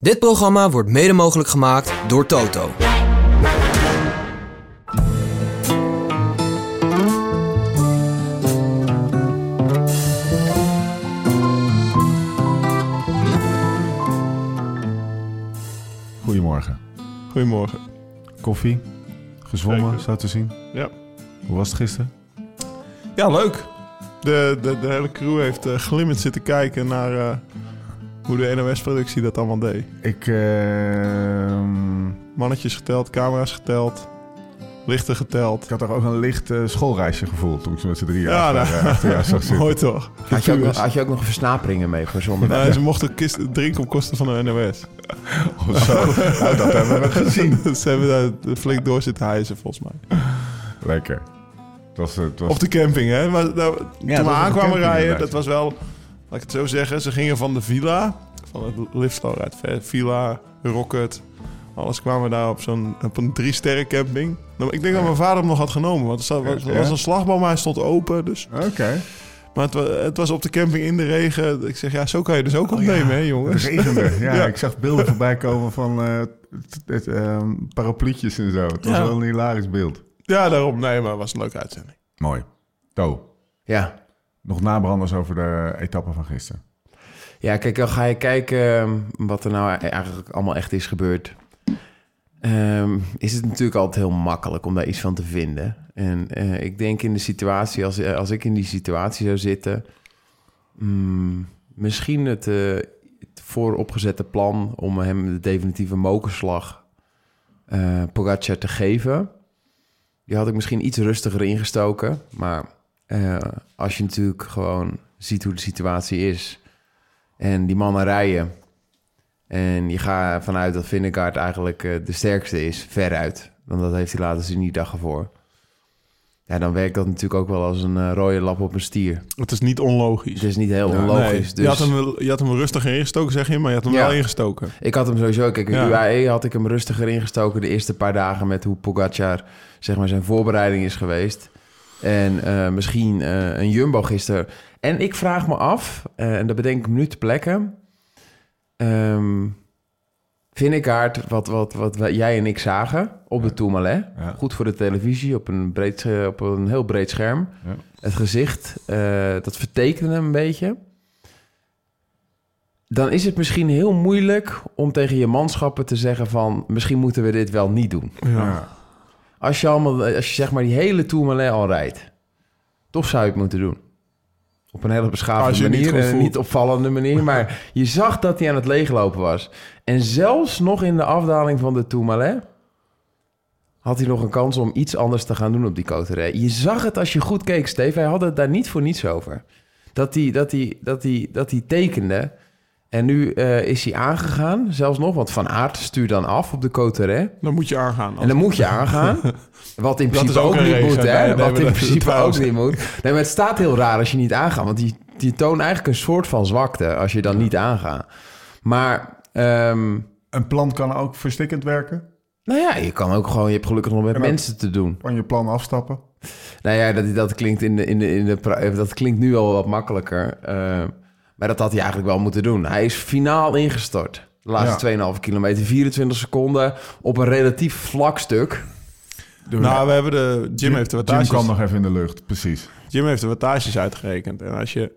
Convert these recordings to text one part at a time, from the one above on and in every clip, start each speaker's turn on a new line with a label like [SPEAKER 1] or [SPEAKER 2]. [SPEAKER 1] Dit programma wordt mede mogelijk gemaakt door Toto.
[SPEAKER 2] Goedemorgen.
[SPEAKER 3] Goedemorgen.
[SPEAKER 2] Koffie, gezwommen
[SPEAKER 3] Zeker.
[SPEAKER 2] zo te zien.
[SPEAKER 3] Ja.
[SPEAKER 2] Hoe was het gisteren?
[SPEAKER 3] Ja, leuk. De, de, de hele crew heeft eh glimmend zitten kijken naar eh, hoe de NOS-productie dat allemaal deed.
[SPEAKER 2] Ik, ehm,
[SPEAKER 3] Mannetjes geteld, camera's geteld, lichten geteld.
[SPEAKER 2] ik had toch ook een licht eh, schoolreisje gevoeld toen ik ze met z'n drieën
[SPEAKER 3] Ja,
[SPEAKER 2] achter,
[SPEAKER 3] nou.
[SPEAKER 2] eh, achter jou zag zitten.
[SPEAKER 3] Mooi toch?
[SPEAKER 4] Had je, ook, nog-
[SPEAKER 3] Pubers.
[SPEAKER 4] had je ook nog versnaperingen mee verzonnen?
[SPEAKER 3] Nou, Ze mochten kist, drinken op kosten van de NOS.
[SPEAKER 2] Of zo.
[SPEAKER 3] Oh.
[SPEAKER 2] Nou, dat hebben we gezien.
[SPEAKER 3] Dus Ze hebben daar flink door zitten hijsen, volgens mij.
[SPEAKER 2] Lekker. Het was, het was,
[SPEAKER 3] Op de camping, hè? Maar, nou, toen
[SPEAKER 2] was op
[SPEAKER 3] we
[SPEAKER 2] de
[SPEAKER 3] aankwamen
[SPEAKER 2] camping,
[SPEAKER 3] rijden,
[SPEAKER 2] inderdaad.
[SPEAKER 3] dat was wel... Laat ik het zo zeggen, ze gingen van de villa... Van het liftstal uit Ve- Villa, Rocket... Alles kwamen we daar op zo'n op een drie sterren camping. Nou, Ik denk dat mijn vader hem nog had genomen. Want er zat- was,
[SPEAKER 2] Ja.
[SPEAKER 3] was een slagboom, maar hij stond open. Dus.
[SPEAKER 2] Oké.
[SPEAKER 3] Maar het, wa- het was op de camping in de regen. Ik zeg, ja, zo kan je dus
[SPEAKER 4] Oh,
[SPEAKER 3] ook opnemen, hè,
[SPEAKER 2] Het
[SPEAKER 3] jongens.
[SPEAKER 2] regende. Ja,
[SPEAKER 3] Ja.
[SPEAKER 2] ik zag beelden voorbij komen van eh, t- het, ehm, parapluutjes en zo. Het was
[SPEAKER 3] Ja.
[SPEAKER 2] wel een hilarisch beeld.
[SPEAKER 3] Ja, daarom. Nee, maar het was een leuke uitzending.
[SPEAKER 2] Mooi. Zo,
[SPEAKER 4] Ja.
[SPEAKER 2] nog nabranders over de etappe van gisteren.
[SPEAKER 4] ja, kijk, dan ga je kijken ehm, wat er nou eigenlijk allemaal echt is gebeurd. Ehm, is het natuurlijk altijd heel makkelijk om daar iets van te vinden. En eh, ik denk in de situatie, als, eh, als ik in die situatie zou zitten, mm, misschien het, eh, het vooropgezette plan om hem de definitieve mokerslag eh Pogacar te geven, die had ik misschien iets rustiger ingestoken. Maar eh, als je natuurlijk gewoon ziet hoe de situatie is en die mannen rijden. En je gaat vanuit dat Vindegaard eigenlijk eh, de sterkste is, veruit. Want dat heeft hij laten zien die dag ervoor. Ja, dan werkt dat natuurlijk ook wel als een eh, rode lap op een stier.
[SPEAKER 3] Het is niet onlogisch.
[SPEAKER 4] Het is niet heel onlogisch.
[SPEAKER 3] je,
[SPEAKER 4] dus
[SPEAKER 3] had hem, je had hem rustig ingestoken, zeg je, maar je had hem
[SPEAKER 4] Ja.
[SPEAKER 3] wel ingestoken.
[SPEAKER 4] Ik had hem sowieso... Kijk,
[SPEAKER 3] Ja.
[SPEAKER 4] UAE had ik hem rustiger ingestoken de eerste paar dagen... met hoe Pogacar zeg maar, zijn voorbereiding is geweest. En eh, misschien eh, een Jumbo gisteren. En ik vraag me af, eh, en dat bedenk ik me nu te plekken... Ehm Vinnegaard, wat, wat, wat wij- jij en ik zagen op de Tourmalet...
[SPEAKER 2] Ja.
[SPEAKER 4] Goed voor de televisie, op een, breed, eh, op een heel breed scherm.
[SPEAKER 2] Ja.
[SPEAKER 4] Het gezicht, eh, dat vertekende hem een beetje. Dan is het misschien heel moeilijk om tegen je manschappen te zeggen van... misschien moeten we dit wel niet doen.
[SPEAKER 2] Ja.
[SPEAKER 4] Als je, allemaal, als je zeg maar die hele Tourmalet al rijdt... toch zou je het moeten doen. Op een hele
[SPEAKER 3] Als
[SPEAKER 4] beschaafde
[SPEAKER 3] je het niet
[SPEAKER 4] manier
[SPEAKER 3] goed
[SPEAKER 4] en een
[SPEAKER 3] voelt.
[SPEAKER 4] niet opvallende manier. Maar je zag dat hij aan het leeglopen was. En zelfs nog in de afdaling van de Tourmalet... had hij nog een kans om iets anders te gaan doen op die coterij. Je zag het als je goed keek, Steve. Hij had het daar niet voor niets over. Dat hij, dat hij, dat hij, dat hij tekende. En nu eh, is hij aangegaan, zelfs nog. Want Van Aert stuurt dan af op de coterij.
[SPEAKER 3] Dan moet je aangaan.
[SPEAKER 4] En dan moet je aangaan. Wat in
[SPEAKER 3] Dat
[SPEAKER 4] principe
[SPEAKER 3] is ook
[SPEAKER 4] ook,
[SPEAKER 3] een
[SPEAKER 4] niet
[SPEAKER 3] race,
[SPEAKER 4] moet,
[SPEAKER 3] hè?
[SPEAKER 4] hè?
[SPEAKER 3] Nee, nee,
[SPEAKER 4] Wat
[SPEAKER 3] maar
[SPEAKER 4] in
[SPEAKER 3] dat is
[SPEAKER 4] principe ook
[SPEAKER 3] trouwens-
[SPEAKER 4] niet moet. Nee, maar het staat heel raar als je niet aangaat. Want die, die toont eigenlijk een soort van zwakte als je dan niet aangaat. Maar, ehm,
[SPEAKER 2] Een plan kan ook verstikkend werken.
[SPEAKER 4] nou ja, je kan ook gewoon... Je hebt gelukkig nog met
[SPEAKER 2] En dan-
[SPEAKER 4] mensen te doen.
[SPEAKER 2] Kan je plan afstappen.
[SPEAKER 4] Nou ja, dat, dat, klinkt, in de, in de, in de, pra- eh, dat klinkt nu al wat makkelijker. eh, maar dat had hij eigenlijk wel moeten doen. Hij is finaal ingestort. De laatste 2,5 kilometer, 24 seconden op een relatief vlak stuk.
[SPEAKER 3] Nou, we hebben de, Jim heeft de wattages, Ah,
[SPEAKER 2] Jim kan nog even in de lucht, precies.
[SPEAKER 3] Jim heeft de wattages uitgerekend. En als je,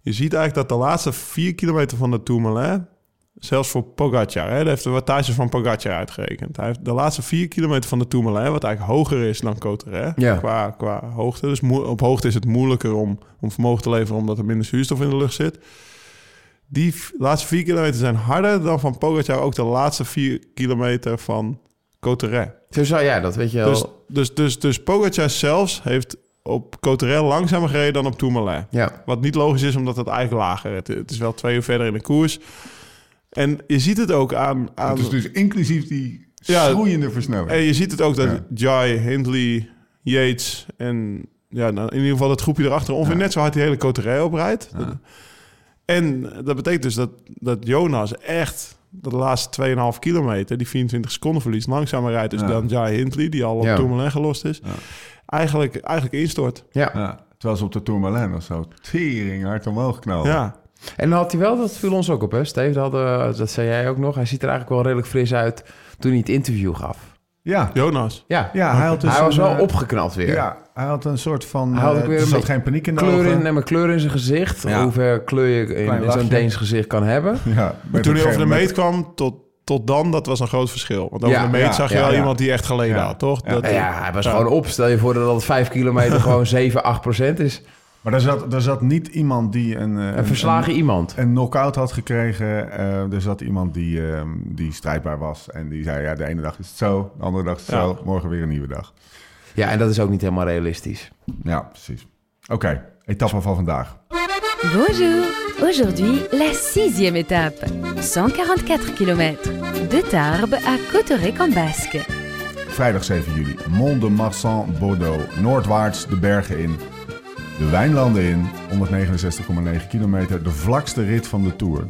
[SPEAKER 3] je ziet eigenlijk dat de laatste vier kilometer van de Tourmalet... Zelfs voor Pogacar, hè, hij heeft de wattage van Pogacar uitgerekend. Hij heeft de laatste vier kilometer van de Tourmalet... wat eigenlijk hoger is dan Coterre
[SPEAKER 4] Ja.
[SPEAKER 3] qua, qua hoogte. Dus moe- op hoogte is het moeilijker om, om vermogen te leveren... omdat er minder zuurstof in de lucht zit. Die v- laatste vier kilometer zijn harder dan van Pogacar... ook de laatste vier kilometer van Coterre.
[SPEAKER 4] Zo zou jij dat, weet je wel.
[SPEAKER 3] Dus, dus, dus, dus Pogacar zelfs heeft op Coterel langzamer gereden dan op Tourmalet.
[SPEAKER 4] ja.
[SPEAKER 3] Wat niet logisch is, omdat het eigenlijk lager is. Het, het is wel twee uur verder in de koers. En je ziet het ook aan... aan
[SPEAKER 2] Het is dus inclusief die
[SPEAKER 3] Ja.
[SPEAKER 2] schroeiende versnelling.
[SPEAKER 3] en je ziet het ook dat
[SPEAKER 2] Ja.
[SPEAKER 3] Jai, Hindley, Yates en... Ja, nou, in ieder geval dat groepje erachter ongeveer
[SPEAKER 2] Ja.
[SPEAKER 3] net zo hard die hele Coterel oprijdt. En dat betekent dus dat, dat Jonas echt de laatste 2,5 kilometer, die 24 seconden verlies, langzamer rijdt dus
[SPEAKER 2] Ja.
[SPEAKER 3] dan Jai Hindley, die al op
[SPEAKER 4] Ja.
[SPEAKER 3] Tourmalet gelost is.
[SPEAKER 2] Ja.
[SPEAKER 3] Eigenlijk, eigenlijk instort.
[SPEAKER 4] Ja,
[SPEAKER 2] Ja, terwijl ze op de Tourmalet of zo tering hard omhoog knallen.
[SPEAKER 3] Ja.
[SPEAKER 4] En dan had hij wel, dat viel ons ook op, hè? Steve, dat, hadden, dat zei jij ook nog. Hij ziet er eigenlijk wel redelijk fris uit toen hij het interview gaf.
[SPEAKER 2] Ja,
[SPEAKER 3] Jonas.
[SPEAKER 4] Ja,
[SPEAKER 2] ja hij had dus
[SPEAKER 4] hij was
[SPEAKER 2] een,
[SPEAKER 4] wel
[SPEAKER 2] eh,
[SPEAKER 4] opgeknapt weer.
[SPEAKER 2] Ja, hij had een soort van...
[SPEAKER 4] Hij had ook
[SPEAKER 2] eh,
[SPEAKER 4] weer
[SPEAKER 2] er
[SPEAKER 4] een
[SPEAKER 2] zat
[SPEAKER 4] beetje
[SPEAKER 2] geen paniek in de
[SPEAKER 4] Kleur in,
[SPEAKER 2] ogen.
[SPEAKER 4] nee, maar kleur in zijn gezicht.
[SPEAKER 1] Ja.
[SPEAKER 4] Hoe ver kleur je
[SPEAKER 2] Klein
[SPEAKER 4] in
[SPEAKER 2] lachje.
[SPEAKER 4] zo'n Deens gezicht kan hebben.
[SPEAKER 2] Ja,
[SPEAKER 3] Maar
[SPEAKER 2] met
[SPEAKER 3] toen
[SPEAKER 2] een
[SPEAKER 3] hij over de
[SPEAKER 2] gegeven-
[SPEAKER 3] meet kwam, tot, tot dan, dat was een groot verschil. Want over
[SPEAKER 4] Ja,
[SPEAKER 3] de meet
[SPEAKER 2] ja,
[SPEAKER 3] zag je
[SPEAKER 2] ja,
[SPEAKER 3] wel
[SPEAKER 2] ja.
[SPEAKER 3] iemand die echt geleden
[SPEAKER 2] Ja.
[SPEAKER 3] had, toch?
[SPEAKER 2] Ja.
[SPEAKER 3] Dat,
[SPEAKER 4] Nou ja, hij was
[SPEAKER 3] Ja.
[SPEAKER 4] gewoon op. Stel je voor dat het 5 kilometer gewoon 7, 8 procent is.
[SPEAKER 2] Maar daar zat, daar zat niet iemand die een... eh,
[SPEAKER 4] Een verslagen iemand.
[SPEAKER 2] een knock-out had gekregen. eh, er zat iemand die, ehm, die strijdbaar was. En die zei, ja, de ene dag is het zo, de andere dag is het
[SPEAKER 3] Ja.
[SPEAKER 2] zo. Morgen weer een nieuwe dag.
[SPEAKER 4] Ja, en dat is ook niet helemaal realistisch.
[SPEAKER 2] Ja, precies. Oké, etappe van vandaag.
[SPEAKER 5] Bonjour Aujourd'hui, la sixième étape. 144 km. De Tarbes à Cauterec en Basque.
[SPEAKER 2] Vrijdag 7 juli. Mont de Marsan, Bordeaux. Noordwaarts de bergen in. De wijnlanden in. 169,9 kilometer. De vlakste rit van de Tour.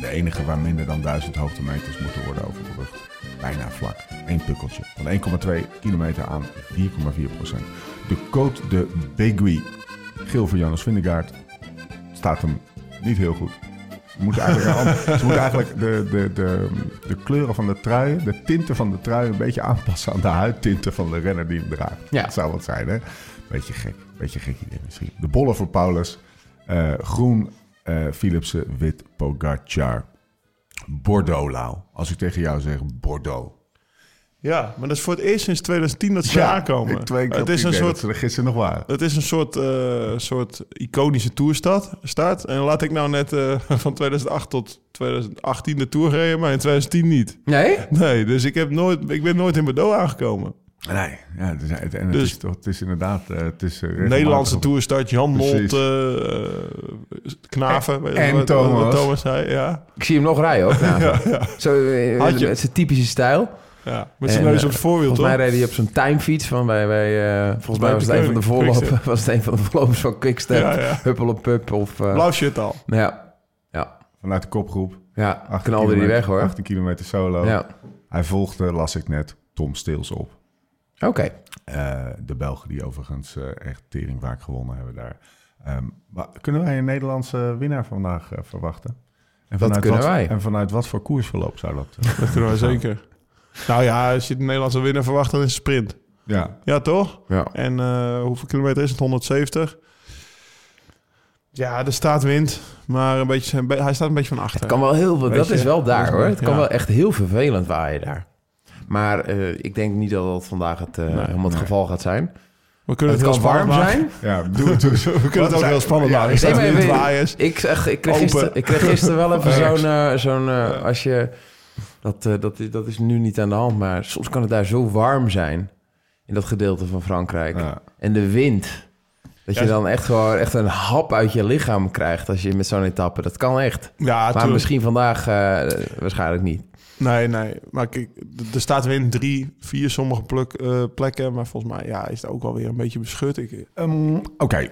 [SPEAKER 2] De enige waar minder dan 1000 hoogtemeters moeten worden overbrugd. Bijna vlak. Eén pukkeltje. Van 1,2 kilometer aan 4,4 procent. De Côte de Beguy. Geel voor Jonas Vindegaard. Staat hem niet heel goed. Ze moeten eigenlijk, een ander- ze moeten eigenlijk de, de, de, de kleuren van de truien, de tinten van de trui een beetje aanpassen aan de huidtinten van de renner die hem draagt.
[SPEAKER 4] Ja.
[SPEAKER 2] Dat zou wat zijn, hè? Beetje gek. Beetje gek idee misschien. De bollen voor Paulus. Eh, groen, eh, Philipsen, wit, Pogacar. Bordeaux-Lau. Als ik tegen jou zeg Bordeaux.
[SPEAKER 3] Ja, maar dat is voor het eerst sinds 2010 dat ze
[SPEAKER 2] Ja,
[SPEAKER 3] aankomen.
[SPEAKER 2] ik- Twee keer
[SPEAKER 3] het is een soort
[SPEAKER 2] dat ze er gisteren nog waren.
[SPEAKER 3] Het is een soort, eh, soort iconische toerstad. Start. En laat ik nou net eh, van 2008 tot 2018 de tour gereden, maar in 2010 niet.
[SPEAKER 4] Nee?
[SPEAKER 3] Nee, dus ik, heb nooit, ik ben nooit in Bordeaux aangekomen.
[SPEAKER 2] Nee, ja, het is, en het,
[SPEAKER 3] Dus-
[SPEAKER 2] is, toch- het is inderdaad... eh, Het is eh, regelmatig-
[SPEAKER 3] Nederlandse toerstad, Jan Molt,
[SPEAKER 2] Precies.
[SPEAKER 3] eh, eh, Knaven. weet je
[SPEAKER 2] en
[SPEAKER 3] wat- eh,
[SPEAKER 2] Thomas.
[SPEAKER 3] wat Thomas zei, ja.
[SPEAKER 4] Ik zie hem nog rijden ook. Nou. Zo, eh,
[SPEAKER 3] Had je-
[SPEAKER 4] met zijn typische stijl.
[SPEAKER 3] ja. Met zijn
[SPEAKER 4] En,
[SPEAKER 3] neus
[SPEAKER 4] eh,
[SPEAKER 3] op het voorwiel,
[SPEAKER 4] Volgens
[SPEAKER 3] toch?
[SPEAKER 4] mij reed hij op zo'n timefiets. Van wij, wij, eh, volgens mij
[SPEAKER 3] Bij
[SPEAKER 4] was
[SPEAKER 3] de
[SPEAKER 4] het, een van de
[SPEAKER 3] Koning,
[SPEAKER 4] voorlopen,
[SPEAKER 3] Quickstep.
[SPEAKER 4] was het een van de voorlopers van Quickstep.
[SPEAKER 3] Ja, ja.
[SPEAKER 4] Huppel op pup of... eh,
[SPEAKER 3] Blauw shirt al.
[SPEAKER 4] nou ja, ja,
[SPEAKER 2] Vanuit de kopgroep.
[SPEAKER 4] ja
[SPEAKER 2] 18
[SPEAKER 4] knalde hij
[SPEAKER 2] kilometer-
[SPEAKER 4] weg hoor.
[SPEAKER 2] 18 kilometer solo.
[SPEAKER 4] Ja.
[SPEAKER 2] Hij volgde, las ik net, Tom Steels op.
[SPEAKER 4] Oké.
[SPEAKER 2] Eh, de Belgen die overigens eh, echt tering vaak gewonnen hebben daar. Ehm, maar kunnen wij een Nederlandse winnaar vandaag eh, verwachten? En
[SPEAKER 4] kunnen
[SPEAKER 2] wat,
[SPEAKER 4] wij.
[SPEAKER 2] En vanuit wat voor koersverloop zou dat... eh,
[SPEAKER 3] Dat kunnen we zeker. Nou ja, als je de Nederlandse winnaar verwacht, dan is het sprint.
[SPEAKER 2] ja,
[SPEAKER 3] Ja, toch?
[SPEAKER 4] Ja.
[SPEAKER 3] En eh, hoeveel kilometer is het? 170. Ja, de staat wint, maar een beetje, een be- hij staat een beetje van achter.
[SPEAKER 4] Het kan wel heel veel,
[SPEAKER 3] Weet
[SPEAKER 4] dat
[SPEAKER 3] je,
[SPEAKER 4] is wel daar hoor. Het kan
[SPEAKER 3] ja.
[SPEAKER 4] wel echt heel vervelend waaien daar. Maar eh, ik denk niet dat dat vandaag het, eh, helemaal het
[SPEAKER 2] nee.
[SPEAKER 4] geval gaat zijn.
[SPEAKER 3] we kunnen
[SPEAKER 4] het
[SPEAKER 3] het,
[SPEAKER 4] kan
[SPEAKER 3] heel spannend
[SPEAKER 4] warm
[SPEAKER 3] maken.
[SPEAKER 4] zijn.
[SPEAKER 2] ja, doe het. Doe het.
[SPEAKER 3] We kunnen
[SPEAKER 2] Wat
[SPEAKER 3] het ook
[SPEAKER 2] zijn-
[SPEAKER 3] heel spannend
[SPEAKER 2] ja,
[SPEAKER 3] maken.
[SPEAKER 2] ik
[SPEAKER 3] Er staat
[SPEAKER 4] weet-
[SPEAKER 3] wind,
[SPEAKER 4] weet-
[SPEAKER 3] waaien is-
[SPEAKER 4] Ik, zag, ik, kreeg
[SPEAKER 3] Open.
[SPEAKER 4] gisteren, ik kreeg gisteren wel even
[SPEAKER 3] Ajax.
[SPEAKER 4] zo'n... eh, zo'n eh, als je, dat, eh, dat, is- dat is nu niet aan de hand, maar soms kan het daar zo warm zijn. In dat gedeelte van Frankrijk.
[SPEAKER 2] Ja.
[SPEAKER 4] En de wind. Dat je
[SPEAKER 3] Ja,
[SPEAKER 4] dan echt gewoon echt een hap uit je lichaam krijgt als je met zo'n etappe. Dat kan echt.
[SPEAKER 3] Ja,
[SPEAKER 4] Maar
[SPEAKER 3] Ah, tuurlijk.
[SPEAKER 4] misschien vandaag eh, waarschijnlijk niet.
[SPEAKER 3] Nee, nee. Maar kijk, de- de staat wint drie, vier sommige pluk, eh, plekken. Maar volgens mij ja, is het ook wel weer een beetje beschut. Ik, eh, nou,
[SPEAKER 2] Ehm, Oké.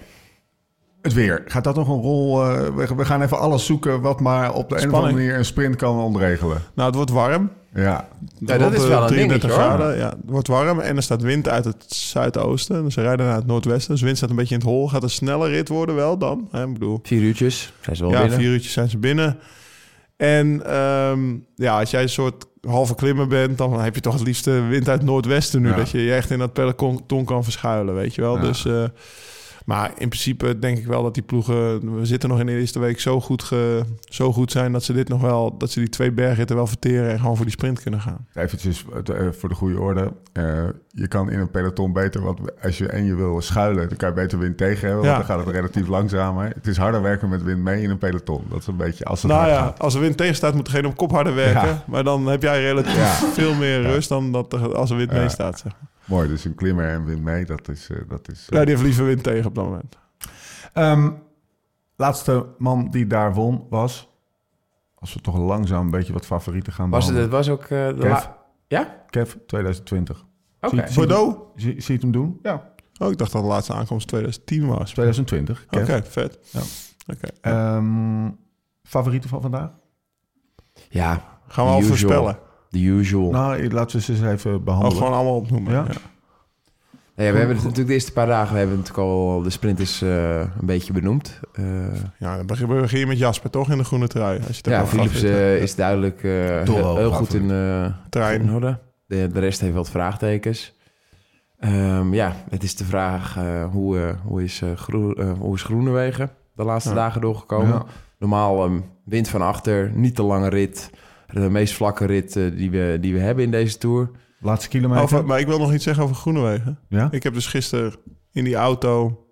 [SPEAKER 2] Het weer. Gaat dat nog een rol... eh, we, we gaan even alles zoeken wat maar op de een of andere
[SPEAKER 3] Spanning.
[SPEAKER 2] manier een sprint kan ontregelen.
[SPEAKER 3] nou, het wordt warm. eh,
[SPEAKER 2] Ja,
[SPEAKER 4] Ja, dat is wel een dingetje, hoor.
[SPEAKER 3] graden. Ja, het wordt warm en er staat wind uit het zuidoosten. Dus ze rijden naar het noordwesten. Dus wind staat een beetje in het hol. Gaat een snelle rit worden wel dan. Hè, ik bedoel,
[SPEAKER 4] Vier uurtjes. Zijn ze wel
[SPEAKER 3] ja,
[SPEAKER 4] binnen.
[SPEAKER 3] vier uurtjes zijn ze binnen. En ehm, ja, als jij een soort halve klimmer bent, dan heb je toch het liefste wind uit het noordwesten nu.
[SPEAKER 2] Ja.
[SPEAKER 3] Dat je je echt in dat peloton kan verschuilen, weet je wel.
[SPEAKER 2] Ja.
[SPEAKER 3] Dus, eh, maar in principe denk ik wel dat die ploegen, we zitten nog in de eerste week, zo goed, ge- zo goed zijn dat ze dit nog wel, dat ze die twee bergritten wel verteren en gewoon voor die sprint kunnen gaan.
[SPEAKER 2] Eventjes eh, voor de goede orde. Eh, je kan in een peloton beter, want als je en je wil schuilen, dan kan je beter wind tegen hebben,
[SPEAKER 3] Ja.
[SPEAKER 2] want dan gaat het relatief langzamer. Het is harder werken met wind mee in een peloton. Dat is een beetje als het
[SPEAKER 3] Nou
[SPEAKER 2] hard
[SPEAKER 3] ja,
[SPEAKER 2] gaat.
[SPEAKER 3] als de wind tegenstaat, moet degene op kop harder werken.
[SPEAKER 2] Ja.
[SPEAKER 3] Maar dan heb jij relatief
[SPEAKER 2] Ja.
[SPEAKER 3] veel meer rust dan dat er, als de wind
[SPEAKER 2] Ja.
[SPEAKER 3] meestaat. Zeg. maar.
[SPEAKER 2] Mooi, dus een klimmer en wind mee, dat is... eh, dat is eh.
[SPEAKER 3] Ja, die heeft liever wind tegen op dat moment.
[SPEAKER 2] Ehm, laatste man die daar won was, als we toch langzaam een beetje wat favorieten gaan
[SPEAKER 4] Was het,
[SPEAKER 2] behandelen.
[SPEAKER 4] het was ook... eh, de
[SPEAKER 2] Kev.
[SPEAKER 4] la- Ja?
[SPEAKER 2] Kev 2020.
[SPEAKER 4] Oké.
[SPEAKER 2] Zie- zie-
[SPEAKER 3] Bordeaux?
[SPEAKER 2] Zie, zie het hem doen? Ja.
[SPEAKER 3] Oh, ik dacht dat de laatste aankomst 2010 was.
[SPEAKER 2] 2020,
[SPEAKER 3] Oké,
[SPEAKER 2] Kev.
[SPEAKER 3] vet.
[SPEAKER 2] Ja.
[SPEAKER 3] Oké.
[SPEAKER 2] Ehm, favorieten van vandaag?
[SPEAKER 4] Ja,
[SPEAKER 3] Gaan we al
[SPEAKER 4] Usual.
[SPEAKER 3] voorspellen.
[SPEAKER 4] the usual.
[SPEAKER 2] Oh. Nou, laten we ze eens even
[SPEAKER 3] Ook
[SPEAKER 2] behandelen.
[SPEAKER 3] gewoon allemaal opnoemen.
[SPEAKER 2] Ja.
[SPEAKER 3] Ja.
[SPEAKER 4] Nou ja, we hebben het natuurlijk de eerste paar dagen, we hebben natuurlijk al de sprinters eh, een beetje benoemd. Eh,
[SPEAKER 3] Ja, dan begin- begin je met Jasper toch in de groene trui. Als je het
[SPEAKER 4] ja,
[SPEAKER 3] hebt over
[SPEAKER 4] Philips
[SPEAKER 3] favorieten.
[SPEAKER 4] eh, is duidelijk eh,
[SPEAKER 2] Toro,
[SPEAKER 4] heel goed
[SPEAKER 2] favoriet.
[SPEAKER 4] in, eh,
[SPEAKER 3] Trein.
[SPEAKER 4] in orde. De, de rest heeft wat vraagtekens. Ehm, ja, het is de vraag eh, hoe, eh, hoe, is, eh, Groen- eh, hoe is Groenewegen de laatste
[SPEAKER 3] Ja.
[SPEAKER 4] dagen doorgekomen.
[SPEAKER 2] Ja.
[SPEAKER 4] Normaal ehm, wind van achter, niet te lange rit. De meest vlakke rit eh, die, we, die we hebben in deze Tour.
[SPEAKER 2] Laatste kilometer.
[SPEAKER 3] Over- maar ik wil nog iets zeggen over Groenewegen.
[SPEAKER 2] ja?
[SPEAKER 3] Ik heb dus gisteren in die auto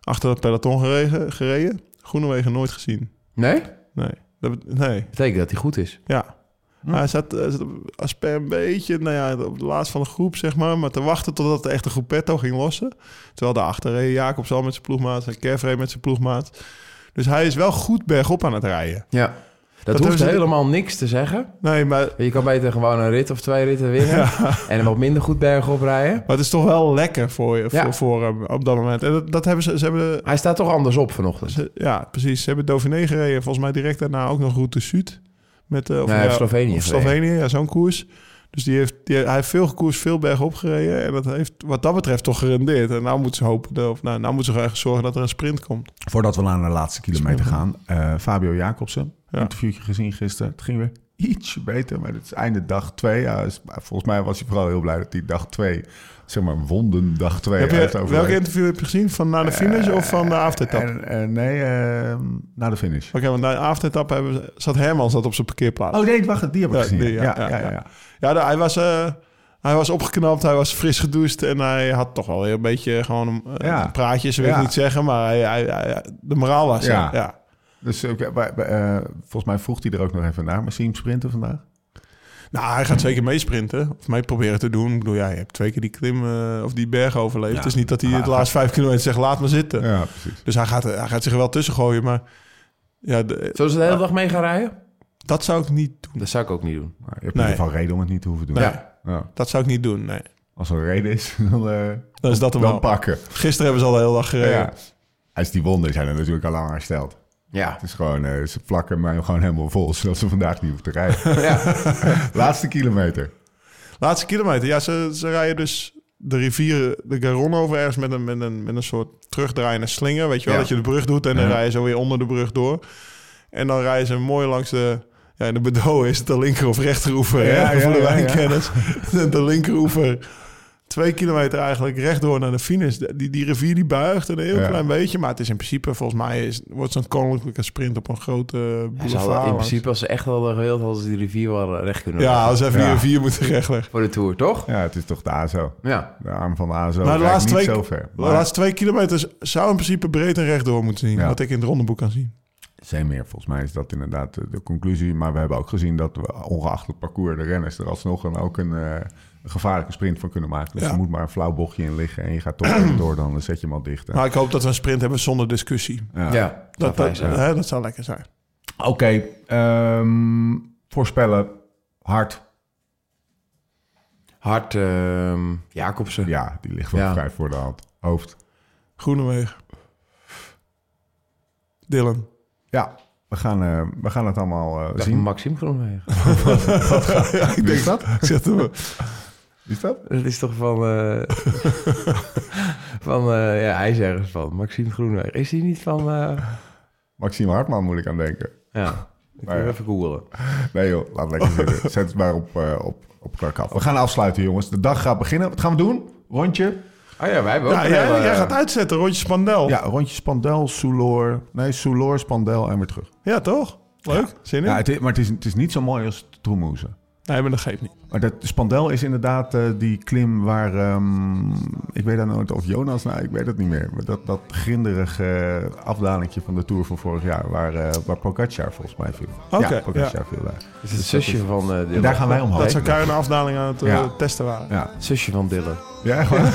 [SPEAKER 3] achter dat peloton geregen, gereden. Groenewegen nooit gezien.
[SPEAKER 4] Nee?
[SPEAKER 3] Nee. Dat, bet- nee.
[SPEAKER 4] Betekent dat hij goed is.
[SPEAKER 3] Ja.
[SPEAKER 2] Hm.
[SPEAKER 3] Hij zat, hij zat op- als per een beetje nou ja, op de laatste van de groep, zeg maar. Maar te wachten totdat de echte groepetto ging lossen. Terwijl daarachter reed Jacobs al met zijn ploegmaat. En Kev reed met zijn ploegmaat. Dus hij is wel goed bergop aan het rijden.
[SPEAKER 4] Ja. Dat,
[SPEAKER 3] hebben
[SPEAKER 4] hoeft
[SPEAKER 3] ze-
[SPEAKER 4] helemaal niks te zeggen.
[SPEAKER 3] Nee, maar, maar
[SPEAKER 4] Je kan beter gewoon een rit of twee ritten winnen. En wat minder goed bergop rijden.
[SPEAKER 3] het is toch wel lekker voor, je,
[SPEAKER 4] Ja.
[SPEAKER 3] voor, voor hem op dat moment. En dat, dat hebben ze... ze hebben,
[SPEAKER 4] Hij staat toch anders op vanochtend.
[SPEAKER 3] ze- ja, precies. Ze hebben Dauphiné gereden. Volgens mij direct daarna ook nog Route Zuid. Met, eh, of,
[SPEAKER 4] Nee, hij heeft Slovenië
[SPEAKER 3] Of
[SPEAKER 4] gereden.
[SPEAKER 3] Slovenië, ja, zo'n koers. Dus die heeft, die, hij heeft veel koers, veel bergop gereden. En dat heeft wat dat betreft toch gerendeerd. En nou moeten ze hopen, dat- of nou, nou moeten ze graag zorgen dat er een sprint komt.
[SPEAKER 2] Voordat we naar de laatste kilometer gaan. eh, Fabio Jacobsen,
[SPEAKER 3] Ja.
[SPEAKER 2] interviewtje gezien gisteren. Het ging weer ietsje beter, maar het is einde dag twee. Ja, is- volgens mij was hij vooral heel blij dat hij dag twee, zeg maar wonden dag twee
[SPEAKER 3] heb
[SPEAKER 2] heeft
[SPEAKER 3] je,
[SPEAKER 2] overleefd. Eh,
[SPEAKER 3] welke interview heb je gezien? Van na de finish
[SPEAKER 4] Eh,
[SPEAKER 3] of van de aftertap? Oké,
[SPEAKER 2] En, en nee, eh, na de finish.
[SPEAKER 3] want na de aftertap hebben ze- zat Herman zat op zijn parkeerplaats.
[SPEAKER 2] Oh nee, wacht, die heb ik
[SPEAKER 3] Ja,
[SPEAKER 2] gezien.
[SPEAKER 3] die,
[SPEAKER 2] ja,
[SPEAKER 3] ja,
[SPEAKER 2] ja, ja,
[SPEAKER 3] ja, Ja, daar- hij was... eh, hij was opgeknapt, hij was fris gedoucht en hij had toch wel weer een beetje gewoon eh,
[SPEAKER 2] Ja.
[SPEAKER 3] praatjes, wil ik
[SPEAKER 2] Ja.
[SPEAKER 3] niet zeggen, maar hij, hij- hij- de moraal was er,
[SPEAKER 2] Ja.
[SPEAKER 3] ja.
[SPEAKER 2] Dus eh, bij- bij- eh, volgens mij vroeg hij er ook nog even naar. Maar zie je hem sprinten vandaag?
[SPEAKER 3] Nou, hij gaat zeker meesprinten. Of mee proberen te doen. Ik bedoel, ja, je hebt twee keer die klim eh, of die berg overleefd.
[SPEAKER 2] Ja.
[SPEAKER 3] het is niet dat hij het
[SPEAKER 2] Maar-
[SPEAKER 3] laatste vijf kilometer zegt, laat maar zitten.
[SPEAKER 2] Ja, precies.
[SPEAKER 3] Dus hij gaat, hij gaat zich er wel tussen gooien. Maar ja, de-
[SPEAKER 4] Zullen ze de hele dag mee gaan rijden?
[SPEAKER 3] dat zou ik niet doen.
[SPEAKER 4] Dat zou ik ook niet doen.
[SPEAKER 2] Maar je hebt
[SPEAKER 3] Nee.
[SPEAKER 2] in ieder geval reden om het niet te hoeven doen.
[SPEAKER 3] Nee,
[SPEAKER 2] Ja.
[SPEAKER 3] dat zou ik niet doen, nee.
[SPEAKER 2] Als er een reden is, dan, eh,
[SPEAKER 3] Dan is dat hem
[SPEAKER 2] dan
[SPEAKER 3] wel.
[SPEAKER 2] pakken.
[SPEAKER 3] Gisteren hebben ze al de hele dag
[SPEAKER 2] Ja.
[SPEAKER 3] gereden.
[SPEAKER 2] Als die wonden zijn er natuurlijk al lang hersteld.
[SPEAKER 4] Ja.
[SPEAKER 2] Het is gewoon, eh, ze plakken mij gewoon helemaal vol, zodat ze vandaag niet hoeven te rijden.
[SPEAKER 4] ja.
[SPEAKER 2] Laatste kilometer.
[SPEAKER 3] Laatste kilometer. Ja, ze, ze rijden dus de rivieren, de Garonne over ergens met een, met een, met een soort terugdraaiende slinger. Weet je wel,
[SPEAKER 2] Ja.
[SPEAKER 3] dat je de brug doet en dan
[SPEAKER 2] Ja.
[SPEAKER 3] rijden ze weer onder de brug door. En dan rijden ze mooi langs de... Ja, in de bedoel is het de linker of rechteroever,
[SPEAKER 2] Ja,
[SPEAKER 3] hè?
[SPEAKER 2] ja,
[SPEAKER 3] voor de
[SPEAKER 2] ja, ja.
[SPEAKER 3] wijnkennis. De linkeroever, twee kilometer eigenlijk rechtdoor naar de finish. De- Die, die rivier die buigt een heel
[SPEAKER 2] Ja.
[SPEAKER 3] klein beetje, maar het is in principe, volgens mij, is, wordt zo'n koninklijke sprint op een grote boulevard.
[SPEAKER 4] Ze hadden in
[SPEAKER 3] langs.
[SPEAKER 4] principe, als ze echt hadden gewild, hadden ze die rivier wel recht kunnen
[SPEAKER 3] Ja,
[SPEAKER 4] leggen.
[SPEAKER 3] als ze even
[SPEAKER 2] Ja.
[SPEAKER 3] die rivier moeten rechtleggen.
[SPEAKER 4] Voor de Tour, toch?
[SPEAKER 2] Ja, het is toch de ASO.
[SPEAKER 4] Ja.
[SPEAKER 2] De arm van de ASO
[SPEAKER 3] Maar
[SPEAKER 2] maar
[SPEAKER 3] de
[SPEAKER 2] rijdt niet
[SPEAKER 3] laatste twee-
[SPEAKER 2] zo ver.
[SPEAKER 3] De
[SPEAKER 2] Maar
[SPEAKER 3] laatste twee kilometers zou in principe breed en rechtdoor moeten zien.
[SPEAKER 2] Ja.
[SPEAKER 3] Wat ik in het rondeboek kan zien.
[SPEAKER 2] Zijn meer, volgens mij is dat inderdaad de, de conclusie. Maar we hebben ook gezien dat we, ongeacht het parcours, de renners er alsnog een, ook een eh, een gevaarlijke sprint van kunnen maken. Dus
[SPEAKER 3] Ja.
[SPEAKER 2] er moet maar een flauw bochtje in liggen en je gaat toch even door, dan zet je hem al dicht. En-
[SPEAKER 3] Maar ik hoop dat we een sprint hebben zonder discussie.
[SPEAKER 2] ja.
[SPEAKER 4] Ja.
[SPEAKER 3] Dat,
[SPEAKER 4] fijn
[SPEAKER 3] dat,
[SPEAKER 4] zijn.
[SPEAKER 3] hè, dat zou lekker zijn.
[SPEAKER 2] Oké, ehm, voorspellen. Hard.
[SPEAKER 4] Hart, ehm Jacobsen.
[SPEAKER 2] Ja, die ligt wel
[SPEAKER 4] Ja.
[SPEAKER 2] vrij voor de hand. Hoofd.
[SPEAKER 3] Groenewegen. Dylan.
[SPEAKER 2] Ja, we gaan, eh, we gaan het allemaal eh,
[SPEAKER 4] Dat is
[SPEAKER 2] zien.
[SPEAKER 4] Maxime Groenewegen.
[SPEAKER 3] ik
[SPEAKER 2] Wie
[SPEAKER 3] denk
[SPEAKER 2] is dat?
[SPEAKER 3] Ik zeg het wel.
[SPEAKER 2] Wie is dat?
[SPEAKER 4] Dat is toch van... eh, van eh, ja, hij is ergens van. Maxime Groenewegen. Is hij niet van... eh,
[SPEAKER 2] Maxime Hartman moet ik aan denken.
[SPEAKER 4] Ja. Ik
[SPEAKER 2] Maar ja.
[SPEAKER 4] wil even googelen.
[SPEAKER 2] Nee joh, laat lekker zitten. Zet het maar op, eh op, op krak af. We gaan afsluiten jongens. De dag gaat beginnen. Wat gaan we doen? Rondje?
[SPEAKER 4] Oh ja, wij hebben ook
[SPEAKER 3] Ja,
[SPEAKER 4] een
[SPEAKER 3] jij,
[SPEAKER 4] hele- eh,
[SPEAKER 3] jij gaat uitzetten, rondje Spandel.
[SPEAKER 2] Ah, Ja,
[SPEAKER 3] Ja,
[SPEAKER 2] rondje Spandel, Soeloor. Nee, Soeloor, Spandel en weer terug.
[SPEAKER 3] toch? Leuk. Zin in?
[SPEAKER 2] Ja, het is, maar het is, het is niet zo mooi als Troemoezen.
[SPEAKER 3] Nee, maar dat geeft niet.
[SPEAKER 2] Maar dat Spandel is inderdaad eh, die klim waar... ehm, ik weet dat nooit of Jonas... Nou, ik weet het niet meer. Maar dat, dat grinderige eh, afdalingje van de Tour van vorig jaar... waar, eh waar Pogacar volgens mij viel.
[SPEAKER 3] Oké,
[SPEAKER 2] ja, Pogacar viel daar.
[SPEAKER 4] Het is het zusje van eh Dylan.
[SPEAKER 2] En daar gaan wij omhoog.
[SPEAKER 3] Dat ze elkaar in de afdaling aan het eh,
[SPEAKER 2] Ja.
[SPEAKER 3] testen waren.
[SPEAKER 2] Ja.
[SPEAKER 4] Zusje van Dylan.
[SPEAKER 2] Ja, gewoon.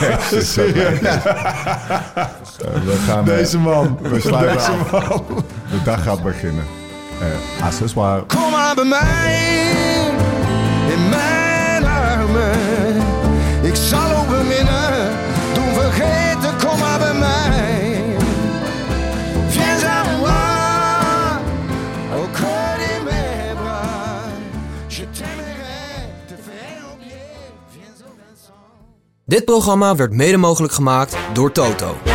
[SPEAKER 2] Jezus, dat lijkt me. Eh, we gaan, eh,
[SPEAKER 3] Deze man.
[SPEAKER 2] we sluiten
[SPEAKER 3] Deze
[SPEAKER 2] af.
[SPEAKER 3] man.
[SPEAKER 2] De dag gaat beginnen. Eh accessoire.
[SPEAKER 6] Kom maar bij mij in mijn armen. Ik zal ook beminnen, doen vergeten, kom maar bij mij. Viens à moi, au cœur de mes bras. Je t'aimerai, te faire oublier, viens au Vincent.
[SPEAKER 1] Dit programma werd mede mogelijk gemaakt door Toto.